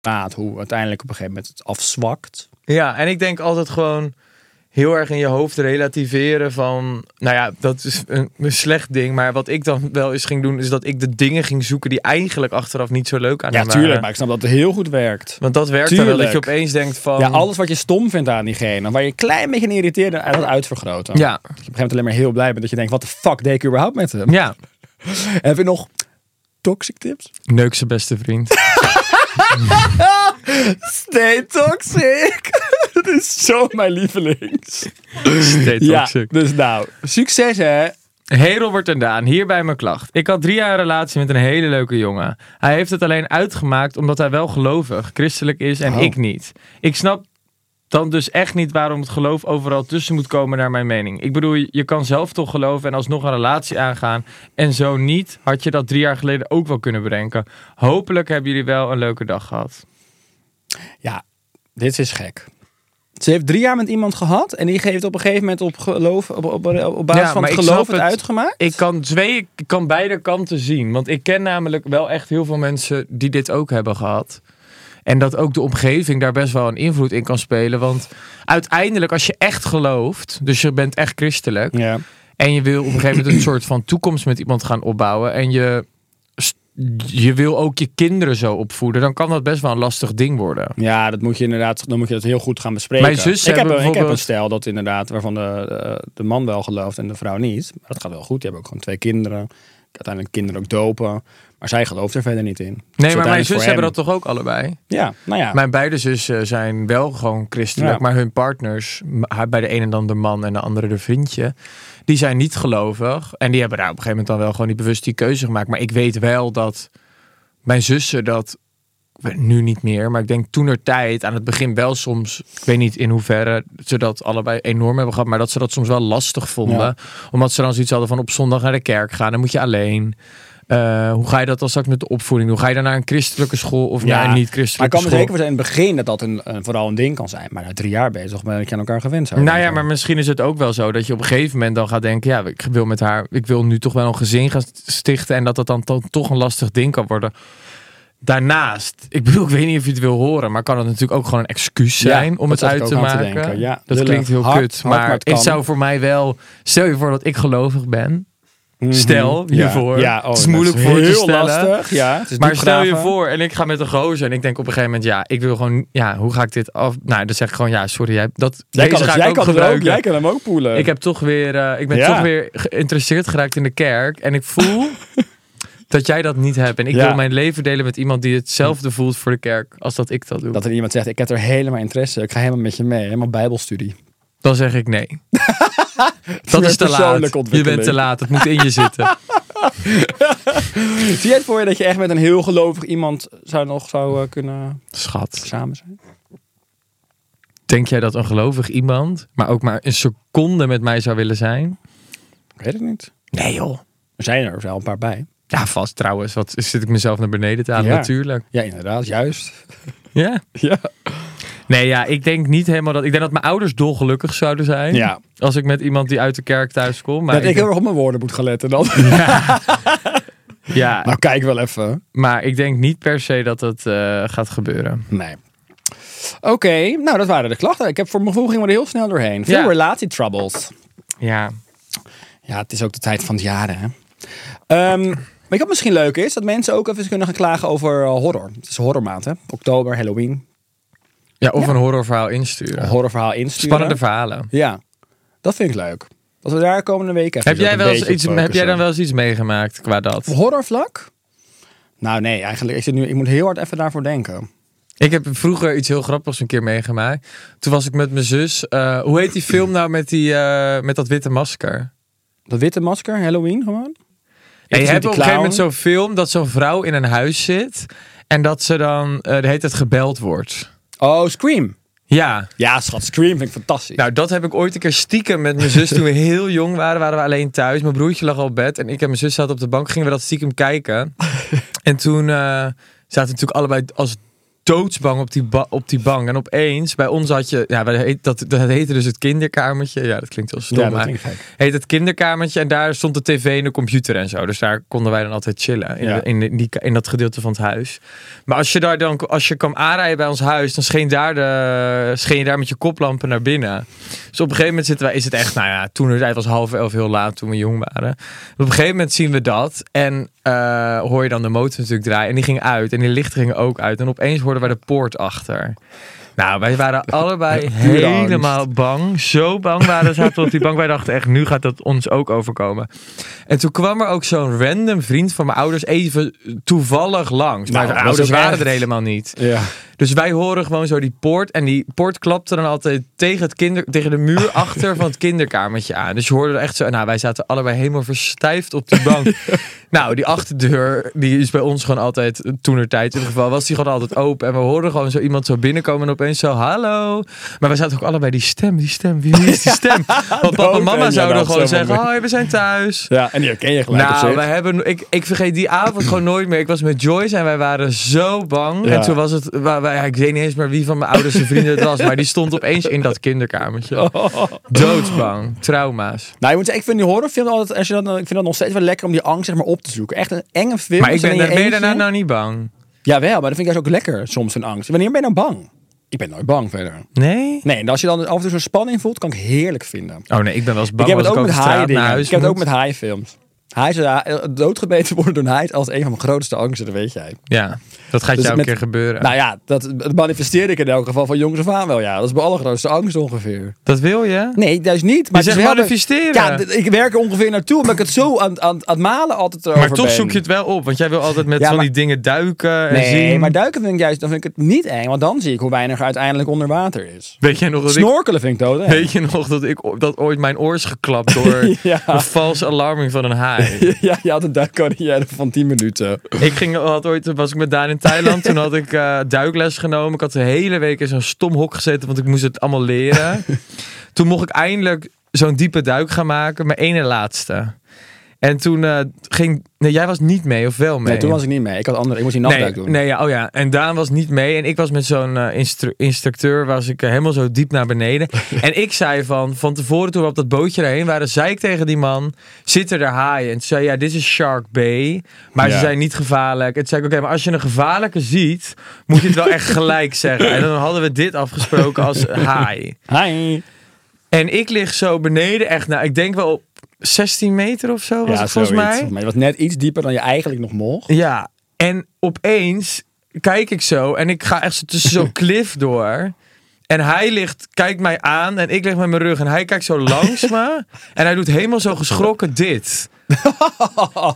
Speaker 2: praat. Hoe uiteindelijk op een gegeven moment het afzwakt.
Speaker 3: Ja, en ik denk altijd gewoon heel erg in je hoofd relativeren van, nou ja, dat is een, een slecht ding. Maar wat ik dan wel eens ging doen, is dat ik de dingen ging zoeken die eigenlijk achteraf niet zo leuk aan
Speaker 2: Ja,
Speaker 3: hem
Speaker 2: tuurlijk.
Speaker 3: waren.
Speaker 2: Maar ik snap dat het heel goed werkt.
Speaker 3: Want dat werkt dan wel, dat je
Speaker 2: Tuurlijk.
Speaker 3: opeens denkt van...
Speaker 2: Ja, alles wat je stom vindt aan diegene. Waar je een klein beetje in irriteert. En dat uitvergroten.
Speaker 3: Ja.
Speaker 2: Dat je op een gegeven moment alleen maar heel blij bent. Dat je denkt, wat de fuck deed ik überhaupt met hem?
Speaker 3: ja.
Speaker 2: Heb je nog toxic tips?
Speaker 3: Neuk zijn beste vriend.
Speaker 2: Stay toxic. dat is zo mijn lievelings. Ja, dus nou, succes hè.
Speaker 3: Hey Robert en Daan, hier bij mijn klacht. Ik had drie jaar een relatie met een hele leuke jongen. Hij heeft het alleen uitgemaakt omdat hij wel gelovig, christelijk is en ik niet. Ik snap dan dus echt niet waarom het geloof overal tussen moet komen naar mijn mening. Ik bedoel, je kan zelf toch geloven en alsnog een relatie aangaan. En zo niet, had je dat drie jaar geleden ook wel kunnen bedenken. Hopelijk hebben jullie wel een leuke dag gehad.
Speaker 2: Ja, dit is gek. Ze heeft drie jaar met iemand gehad en die geeft op een gegeven moment op, geloof, op, op, op, op basis
Speaker 3: Ja,
Speaker 2: van
Speaker 3: maar
Speaker 2: het
Speaker 3: ik
Speaker 2: geloof
Speaker 3: snap
Speaker 2: het,
Speaker 3: het.
Speaker 2: uitgemaakt.
Speaker 3: Ik kan, twee, ik kan beide kanten zien. Want ik ken namelijk wel echt heel veel mensen die dit ook hebben gehad. En dat ook de omgeving daar best wel een invloed in kan spelen. Want uiteindelijk, als je echt gelooft, dus je bent echt christelijk.
Speaker 2: Ja.
Speaker 3: En je wil op een gegeven moment een soort van toekomst met iemand gaan opbouwen. En je, je wil ook je kinderen zo opvoeden. Dan kan dat best wel een lastig ding worden.
Speaker 2: ja, dat moet je inderdaad, dan moet je dat heel goed gaan bespreken.
Speaker 3: Mijn zus
Speaker 2: ik, heb,
Speaker 3: hebben
Speaker 2: een- ik heb een
Speaker 3: bijvoorbeeld-
Speaker 2: stijl dat inderdaad, waarvan de, de, de man wel gelooft en de vrouw niet. Maar dat gaat wel goed. Die hebben ook gewoon twee kinderen. Uiteindelijk kinderen ook dopen. Maar zij gelooft er verder niet in. Dus
Speaker 3: Nee, maar mijn
Speaker 2: uiteindelijk
Speaker 3: zus
Speaker 2: voor
Speaker 3: hebben
Speaker 2: hem-
Speaker 3: dat toch ook allebei?
Speaker 2: Ja, nou ja.
Speaker 3: Mijn beide zussen zijn wel gewoon christelijk,
Speaker 2: Ja.
Speaker 3: maar hun partners, m- haar- bij de ene dan de man en de andere de vriendje, die zijn niet gelovig. En die hebben daar op een gegeven moment dan wel gewoon niet bewust die keuze gemaakt. Maar ik weet wel dat mijn zussen dat nu niet meer, maar ik denk toen er tijd aan het begin wel soms, ik weet niet in hoeverre ze dat allebei enorm hebben gehad, maar dat ze dat soms wel lastig vonden,
Speaker 2: Ja.
Speaker 3: omdat ze dan zoiets hadden van op zondag naar de kerk gaan, dan moet je alleen. Eh, hoe ga je dat dan straks met de opvoeding doen? Ga je dan naar een christelijke school of naar een
Speaker 2: Maar ik
Speaker 3: niet-christelijke
Speaker 2: kan me
Speaker 3: school?
Speaker 2: zeker voor zijn in het begin dat dat een, een- vooral een ding kan zijn. Maar na drie jaar bezig ben je aan elkaar gewend. zou ik
Speaker 3: Nou ja,
Speaker 2: denken.
Speaker 3: maar misschien is het ook wel zo dat je op een gegeven moment dan gaat denken: ja, ik wil met haar, ik wil nu toch wel een gezin gaan stichten. En dat dat dan to- toch een lastig ding kan worden. Daarnaast, ik bedoel, ik weet niet of je het wil horen, maar kan het natuurlijk ook gewoon een excuus
Speaker 2: Ja,
Speaker 3: zijn om
Speaker 2: dat
Speaker 3: het
Speaker 2: zat ik
Speaker 3: uit
Speaker 2: ook
Speaker 3: te
Speaker 2: aan te
Speaker 3: maken.
Speaker 2: denken. Ja,
Speaker 3: dat
Speaker 2: lullig.
Speaker 3: klinkt heel
Speaker 2: Hard,
Speaker 3: kut,
Speaker 2: hard,
Speaker 3: maar,
Speaker 2: maar het
Speaker 3: het
Speaker 2: kan.
Speaker 3: zou voor mij wel. Stel je voor dat ik gelovig ben. Stel
Speaker 2: Mhm. Ja.
Speaker 3: hiervoor.
Speaker 2: Ja, oh,
Speaker 3: het is
Speaker 2: dat
Speaker 3: moeilijk
Speaker 2: is
Speaker 3: voor je te
Speaker 2: heel
Speaker 3: stellen.
Speaker 2: lastig, ja. Het is
Speaker 3: maar
Speaker 2: diep
Speaker 3: stel je
Speaker 2: graven.
Speaker 3: voor en ik ga met een gozer en ik denk op een gegeven moment ja, ik wil gewoon ja, hoe ga ik dit af? Nou, dan zeg ik gewoon ja, sorry, jij dat
Speaker 2: Jij
Speaker 3: deze
Speaker 2: kan,
Speaker 3: ga
Speaker 2: het,
Speaker 3: ik
Speaker 2: jij, kan het ook,
Speaker 3: gebruiken.
Speaker 2: jij kan hem ook poelen.
Speaker 3: Ik heb toch weer, eh, ik ben
Speaker 2: Ja.
Speaker 3: toch weer geïnteresseerd geraakt in de kerk. En ik voel dat jij dat niet hebt. En ik
Speaker 2: Ja.
Speaker 3: wil mijn leven delen met iemand die hetzelfde voelt voor de kerk als dat ik dat doe.
Speaker 2: Dat er iemand zegt, ik heb er helemaal interesse. Ik ga helemaal met je mee. Helemaal bijbelstudie.
Speaker 3: Dan zeg ik nee. dat is te laat.
Speaker 2: persoonlijke
Speaker 3: Je
Speaker 2: ontwikkeling.
Speaker 3: bent te laat. Het moet in je zitten.
Speaker 2: Zie jij het voor je dat je echt met een heel gelovig iemand zou nog zou eh, kunnen
Speaker 3: Schat,
Speaker 2: samen zijn?
Speaker 3: denk jij dat een gelovig iemand, maar ook maar een seconde met mij zou willen zijn?
Speaker 2: Ik weet het niet.
Speaker 3: Nee joh.
Speaker 2: Er zijn er wel een paar bij.
Speaker 3: Ja, vast trouwens. Wat zit ik mezelf naar beneden te halen?
Speaker 2: Ja.
Speaker 3: Natuurlijk.
Speaker 2: Ja, inderdaad. Juist.
Speaker 3: Ja.
Speaker 2: Ja.
Speaker 3: Nee, ja, ik denk niet helemaal dat. Ik denk dat mijn ouders dolgelukkig zouden zijn.
Speaker 2: Ja.
Speaker 3: Als ik met iemand die uit de kerk thuis kom. Maar
Speaker 2: dat ik
Speaker 3: ik-
Speaker 2: heel erg op mijn woorden moet gaan letten dan.
Speaker 3: ja,
Speaker 2: nou, kijk wel even.
Speaker 3: maar ik denk niet per se dat dat eh, gaat gebeuren.
Speaker 2: Nee. Oké, nou dat waren de klachten. Ik heb voor mijn gevoel gingen we er heel snel doorheen. Veel
Speaker 3: Ja.
Speaker 2: relatietroubles.
Speaker 3: Ja.
Speaker 2: Ja, het is ook de tijd van het jaar, hè. Ehm maar wat misschien leuk is, dat mensen ook even kunnen gaan klagen over eh, horror. Het is horrormaand, hè. Oktober, Halloween.
Speaker 3: ja of een horrorverhaal insturen.
Speaker 2: Een horrorverhaal insturen.
Speaker 3: Spannende verhalen.
Speaker 2: Ja, dat vind ik leuk. Dat we daar komende week even
Speaker 3: Heb
Speaker 2: zo
Speaker 3: jij,
Speaker 2: een
Speaker 3: wel eens
Speaker 2: beetje op
Speaker 3: iets, heb jij
Speaker 2: focussen.
Speaker 3: dan wel eens iets meegemaakt qua dat?
Speaker 2: Horrorvlak? Nou nee, eigenlijk ik zit nu, ik moet heel hard even daarvoor denken.
Speaker 3: Ik heb vroeger iets heel grappigs een keer meegemaakt. Toen was ik met mijn zus. eh, hoe heet die film nou met, die, eh, met dat witte masker?
Speaker 2: Dat witte masker, Halloween gewoon.
Speaker 3: Ja, je
Speaker 2: Iets
Speaker 3: hebt
Speaker 2: met die
Speaker 3: op een gegeven moment
Speaker 2: clown.
Speaker 3: zo'n film dat zo'n vrouw in een huis zit en dat ze dan eh, de hele tijd gebeld wordt.
Speaker 2: Oh, Scream.
Speaker 3: Ja,
Speaker 2: Ja, schat, Scream vind ik fantastisch.
Speaker 3: nou dat heb ik ooit een keer stiekem met mijn zus toen we heel jong waren, waren we alleen thuis. Mijn broertje lag al op bed en ik en mijn zus zaten op de bank, gingen we dat stiekem kijken. En toen eh, zaten we natuurlijk allebei als doodsbang op die, ba- op die bank. En opeens, bij ons had je, ja, wij heet- dat, dat heette dus het kinderkamertje. Ja, dat klinkt heel stom,
Speaker 2: Ja, dat
Speaker 3: maar
Speaker 2: klinkt gek.
Speaker 3: heet het kinderkamertje. En daar stond de tv en de computer en zo. Dus daar konden wij dan altijd chillen, in,
Speaker 2: Ja.
Speaker 3: de- in, de- in, die, in dat gedeelte van het huis. Maar als je, daar dan, als je kwam aanrijden bij ons huis, dan scheen, daar de, scheen je daar met je koplampen naar binnen. Dus op een gegeven moment zitten wij, is het echt, nou ja, toen het was half elf heel laat toen we jong waren. Op een gegeven moment zien we dat en eh, hoor je dan de motor natuurlijk draaien. En die ging uit en die lichten gingen ook uit. En opeens hoorden wij de poort achter. Nou, wij waren allebei
Speaker 2: Pure angst.
Speaker 3: helemaal bang. Zo bang waren zaten we op die bank. Wij dachten echt, nu gaat dat ons ook overkomen. En toen kwam er ook zo'n random vriend van mijn ouders even toevallig langs. Maar
Speaker 2: Nou,
Speaker 3: mijn
Speaker 2: dat
Speaker 3: ouders
Speaker 2: was ook
Speaker 3: waren
Speaker 2: echt.
Speaker 3: er helemaal niet.
Speaker 2: Ja.
Speaker 3: Dus wij horen gewoon zo die poort. En die poort klapte dan altijd tegen, het kinder, tegen de muur achter van het kinderkamertje aan. Dus je hoorde er echt zo. Nou, wij zaten allebei helemaal verstijfd op die bank. nou, die achterdeur, die is bij ons gewoon altijd, toenertijd in ieder geval, was die gewoon altijd open. En we hoorden gewoon zo iemand zo binnenkomen en opeens zo, hallo. Maar wij zaten ook allebei, die stem, die stem, wie is die stem? Want papa en
Speaker 2: ook, en
Speaker 3: mama
Speaker 2: ja,
Speaker 3: zouden
Speaker 2: dat
Speaker 3: gewoon
Speaker 2: zou wel
Speaker 3: zeggen,
Speaker 2: mee.
Speaker 3: hoi, we zijn thuis.
Speaker 2: Ja, en die herken je gelijk op
Speaker 3: Nou,
Speaker 2: zich.
Speaker 3: wij hebben, ik, ik vergeet die avond gewoon nooit meer. Ik was met Joyce en wij waren zo bang.
Speaker 2: Ja.
Speaker 3: En toen was het, wa- wa- ja, ik weet niet eens meer wie van mijn ouders vrienden het was. Maar die stond opeens in dat kinderkamertje. Doodsbang. Trauma's.
Speaker 2: Nou, je moet zeggen, Oh. ik vind die horrorfilm altijd, als je dat, ik vind dat nog steeds wel lekker om die angst zeg maar, op te zoeken. Echt een enge film.
Speaker 3: Maar ik
Speaker 2: als je
Speaker 3: ben,
Speaker 2: dan in
Speaker 3: ben je
Speaker 2: eentje-
Speaker 3: daarna nou niet bang?
Speaker 2: Jawel, maar dat vind ik juist ook lekker, soms een angst. Wanneer ben je nou bang? Ik ben nooit bang verder.
Speaker 3: Nee?
Speaker 2: Nee, en als je dan af en toe zo'n spanning voelt, kan ik heerlijk vinden.
Speaker 3: Oh nee, ik ben wel eens
Speaker 2: Ik
Speaker 3: bang
Speaker 2: heb het
Speaker 3: als
Speaker 2: ook
Speaker 3: ik
Speaker 2: met
Speaker 3: over straat
Speaker 2: haaien
Speaker 3: naar
Speaker 2: dingen.
Speaker 3: huis
Speaker 2: Ik heb het ook
Speaker 3: moet.
Speaker 2: met haaienfilms. Haai eh, doodgebeten worden door een haai is altijd een van mijn grootste angsten, dat weet jij.
Speaker 3: Ja, dat gaat
Speaker 2: Dus
Speaker 3: jou een
Speaker 2: met-
Speaker 3: keer gebeuren.
Speaker 2: Nou ja, dat, dat manifesteerde ik in elk geval van jongs af aan wel. Ja, dat is mijn allergrootste angst ongeveer.
Speaker 3: dat wil je?
Speaker 2: Nee, dat is niet. Maar
Speaker 3: Je
Speaker 2: het is
Speaker 3: zegt
Speaker 2: wel de-
Speaker 3: manifesteren.
Speaker 2: Ja, d- ik werk er ongeveer naartoe, omdat ik het zo aan, aan, aan het malen altijd erover
Speaker 3: Maar toch
Speaker 2: ben.
Speaker 3: zoek je het wel op. Want jij wil altijd met
Speaker 2: Ja,
Speaker 3: van
Speaker 2: maar-
Speaker 3: die dingen duiken en
Speaker 2: Nee,
Speaker 3: zien.
Speaker 2: maar duiken vind ik juist, dan vind ik het niet eng, want dan zie ik hoe weinig er uiteindelijk onder water is.
Speaker 3: Weet jij nog dat ik
Speaker 2: Snorkelen vind ik dood.
Speaker 3: Weet je nog dat ik o- dat ooit mijn oor is geklapt door
Speaker 2: Ja.
Speaker 3: een valse alarming van een haai?
Speaker 2: Ja, je had een duikcarrière van 10 minuten.
Speaker 3: ik ging, had ooit, was ik met Daan in Thailand, toen had ik eh, duikles genomen. Ik had de hele week in zo'n stom hok gezeten, want ik moest het allemaal leren. toen mocht ik eindelijk zo'n diepe duik gaan maken, mijn ene laatste. En toen eh, ging... Nee, jij was niet mee, of wel mee?
Speaker 2: Nee, toen was ik niet mee. Ik had andere, ik moest die nachtduik
Speaker 3: nee,
Speaker 2: doen.
Speaker 3: Nee, ja, oh ja. En Daan was niet mee. En ik was met zo'n eh, instru- instructeur, was ik eh, helemaal zo diep naar beneden. en ik zei van, van tevoren toen we op dat bootje daarheen waren, zei ik tegen die man, zitten er haaien? En toen zei hij, ja, dit is Shark Bay. Maar ze
Speaker 2: Ja.
Speaker 3: zijn niet gevaarlijk. En toen zei ik, oké, maar als je een gevaarlijke ziet, moet je het wel echt gelijk zeggen. En dan hadden we dit afgesproken als haai.
Speaker 2: Hi.
Speaker 3: En ik lig zo beneden, echt, nou, ik denk wel op 16 meter of zo was het volgens mij.
Speaker 2: Maar je was net iets dieper dan je eigenlijk nog mocht.
Speaker 3: Ja, en opeens kijk ik zo en ik ga echt zo tussen zo'n cliff door. En hij ligt, kijkt mij aan en ik lig met mijn rug en hij kijkt zo langs me. En hij doet helemaal zo geschrokken dit.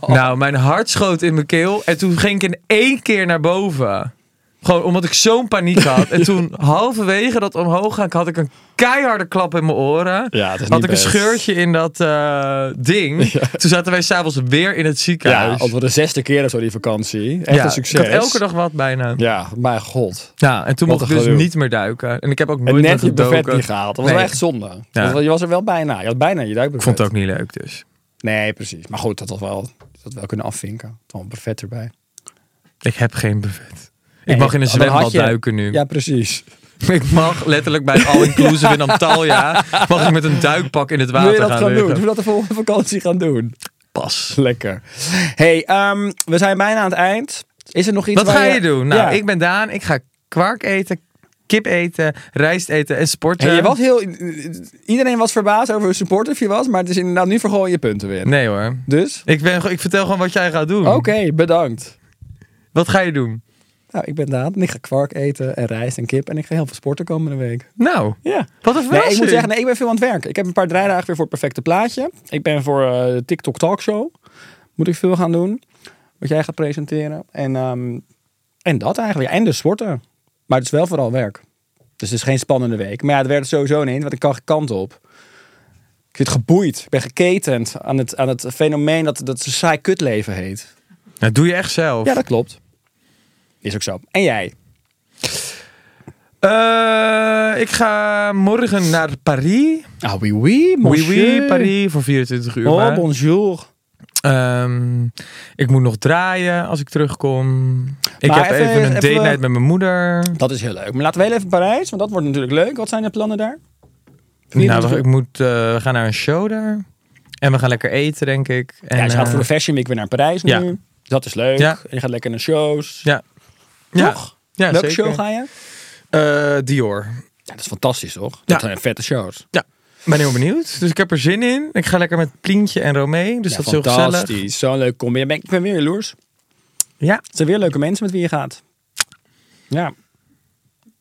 Speaker 3: Nou, mijn hart schoot in mijn keel en toen ging ik in één keer naar boven. Gewoon omdat ik zo'n paniek had. En toen halverwege dat omhoog gaan, had ik een keiharde klap in mijn oren.
Speaker 2: Ja, het is
Speaker 3: had ik
Speaker 2: niet best.
Speaker 3: een scheurtje in dat eh, ding. Toen zaten wij s'avonds weer in het
Speaker 2: Ja,
Speaker 3: ziekenhuis.
Speaker 2: als we de zesde keer of zo die vakantie. Echt een succes.
Speaker 3: Ik had elke dag wat bijna. Ja,
Speaker 2: Ja, mijn god.
Speaker 3: en toen
Speaker 2: Wat
Speaker 3: mocht ik
Speaker 2: een
Speaker 3: dus
Speaker 2: gelul.
Speaker 3: niet meer duiken. En ik heb ook
Speaker 2: En
Speaker 3: nooit meer
Speaker 2: net je buffet
Speaker 3: gedoken.
Speaker 2: niet gehaald. Dat was
Speaker 3: Nee.
Speaker 2: wel echt zonde. Dat was- Je was er wel bijna. Je had bijna je duikbuffet.
Speaker 3: Ik vond het ook niet leuk dus.
Speaker 2: Nee, precies. Maar goed, dat had wel, dat had wel kunnen afvinken. Dan een buffet erbij.
Speaker 3: Ik heb geen buffet.
Speaker 2: Nee,
Speaker 3: ik mag in een
Speaker 2: dan had
Speaker 3: zwembad
Speaker 2: je-
Speaker 3: duiken nu.
Speaker 2: Ja, precies.
Speaker 3: Ik mag letterlijk bij All Inclusive in Antalya... mag ik met een duikpak in het
Speaker 2: Wil
Speaker 3: water
Speaker 2: je dat gaan, doen? Wil
Speaker 3: liggen.
Speaker 2: je dat de volgende vakantie gaan doen?
Speaker 3: Pas.
Speaker 2: Lekker. hey, ehm, we zijn bijna aan het eind. Is er nog iets
Speaker 3: Wat
Speaker 2: waar
Speaker 3: ga je doen? Nou,
Speaker 2: Ja.
Speaker 3: ik ben Daan. Ik ga kwark eten, kip eten, rijst eten en sporten.
Speaker 2: Hey, je was heel, iedereen was verbaasd over hoe supportive je was, maar het is inderdaad nu vergooi je punten weer.
Speaker 3: Nee hoor.
Speaker 2: Dus?
Speaker 3: Ik, ben, gewoon- ik vertel gewoon wat jij gaat doen.
Speaker 2: Oké, bedankt.
Speaker 3: Wat ga je doen?
Speaker 2: Nou, ik ben Daan en ik ga kwark eten en rijst en kip en ik ga heel veel sporten komende week.
Speaker 3: Nou,
Speaker 2: Ja.
Speaker 3: wat een
Speaker 2: Nee,
Speaker 3: verrassing.
Speaker 2: ik moet zeggen, nee, ik ben veel aan het werk. Ik heb een paar draaidagen weer voor het perfecte plaatje. Ik ben voor eh, de TikTok Talkshow. Moet ik veel gaan doen. Wat jij gaat presenteren. En, ehm, en dat eigenlijk. Ja, en dus sporten. Maar het is wel vooral werk. Dus het is geen spannende week. Maar ja, het werd het sowieso niet, want ik kan geen kant op. Ik zit geboeid. Ik ben geketend aan het, aan het fenomeen dat, dat ze saai kutleven heet.
Speaker 3: Dat nou, doe je echt zelf.
Speaker 2: Ja, dat klopt. Is ook zo. En jij?
Speaker 3: Eh, ik ga morgen naar Paris.
Speaker 2: Ah, oui, oui,
Speaker 3: Oui, oui,
Speaker 2: monsieur.
Speaker 3: Paris voor 24 uur.
Speaker 2: Oh,
Speaker 3: maar.
Speaker 2: bonjour.
Speaker 3: Ehm, ik moet nog draaien als ik terugkom. Ik
Speaker 2: Maar
Speaker 3: heb
Speaker 2: even-
Speaker 3: even, een date
Speaker 2: even-
Speaker 3: night met mijn moeder.
Speaker 2: Dat is heel leuk. Maar laten we heel even Parijs, want dat wordt natuurlijk leuk. Wat zijn de plannen daar?
Speaker 3: Nou,
Speaker 2: 24
Speaker 3: wacht, ik moet eh, we gaan naar een show daar. En we gaan lekker eten, denk ik. En,
Speaker 2: ja, je gaat
Speaker 3: eh,
Speaker 2: voor de Fashion Week weer naar Parijs
Speaker 3: ja.
Speaker 2: nu. Dat is leuk.
Speaker 3: Ja.
Speaker 2: En je gaat lekker naar shows.
Speaker 3: Ja. Ja.
Speaker 2: Toch?
Speaker 3: Ja,
Speaker 2: Welke
Speaker 3: zeker.
Speaker 2: show ga je?
Speaker 3: Eh, Dior.
Speaker 2: Ja, dat is fantastisch, toch? Dat
Speaker 3: Ja.
Speaker 2: zijn vette shows.
Speaker 3: Ja. Ben heel benieuwd. Dus ik heb er zin in. Ik ga lekker met Plientje en Romee. Dus
Speaker 2: Ja,
Speaker 3: dat is heel gezellig.
Speaker 2: fantastisch. Zo'n leuk combi. Ja, ben- Ik ben weer jaloers.
Speaker 3: Ja.
Speaker 2: Het zijn weer leuke mensen met wie je gaat. Ja.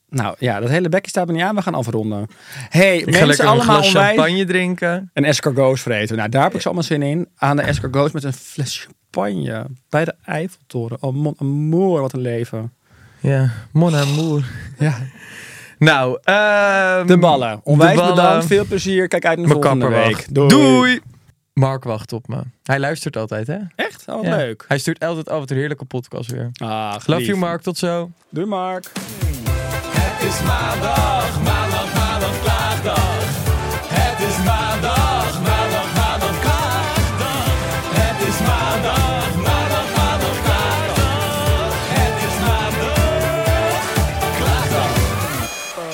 Speaker 2: Nou ja, dat hele bekje staat me niet aan. We gaan afronden. hey,
Speaker 3: Ik ga
Speaker 2: mensen
Speaker 3: lekker een
Speaker 2: allemaal
Speaker 3: glas
Speaker 2: onwijs.
Speaker 3: champagne drinken.
Speaker 2: En escargots vreten. Nou, daar heb ik ze allemaal zin in. Aan de escargots met een fles champagne. Bij de Eiffeltoren. Oh, mon amour, wat een leven.
Speaker 3: Ja, mon amour.
Speaker 2: Ja.
Speaker 3: Nou, ehm,
Speaker 2: Mm. De ballen. Onwijs
Speaker 3: de ballen.
Speaker 2: bedankt. Veel plezier. Kijk uit naar
Speaker 3: Mijn
Speaker 2: volgende
Speaker 3: kapper
Speaker 2: week.
Speaker 3: wacht. Doei. Mark wacht op me. Hij luistert altijd, hè?
Speaker 2: Echt? Oh, wat
Speaker 3: Ja.
Speaker 2: leuk.
Speaker 3: Hij stuurt altijd af en toe een heerlijke podcast weer.
Speaker 2: Ah,
Speaker 3: Love you, Mark. Tot zo.
Speaker 2: Doei, Mark.
Speaker 1: Het is maandag, maandag, maandag, klaagdag. Het is maandag, maandag, maandag, klaagdag. Het is maandag, maandag, maandag, klaagdag. Het is maandag, klaagdag.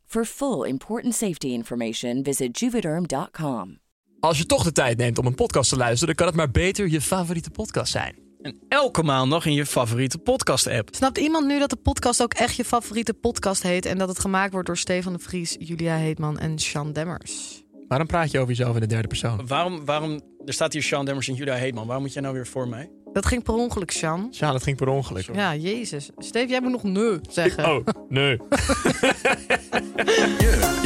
Speaker 4: For full important safety information, visit juvederm.com.
Speaker 5: Als je toch de tijd neemt om een podcast te luisteren, dan kan het maar beter je favoriete podcast zijn.
Speaker 6: En elke maandag in je favoriete podcast-app.
Speaker 7: Snapt iemand nu dat de podcast ook echt je favoriete podcast heet en dat het gemaakt wordt door Stefan de Vries, Julia Heetman en Sean Demmers?
Speaker 5: Waarom praat je over jezelf in de derde persoon?
Speaker 6: Waarom, waarom, er staat hier Sean Demmers en Judah Heetman. Waarom moet jij nou weer voor mij?
Speaker 7: Dat ging per ongeluk, Sean.
Speaker 5: Sjaan, het ging per ongeluk.
Speaker 7: Ja, jezus. Steef, jij moet nog nee zeggen.
Speaker 5: Oh, nee.
Speaker 1: Yeah.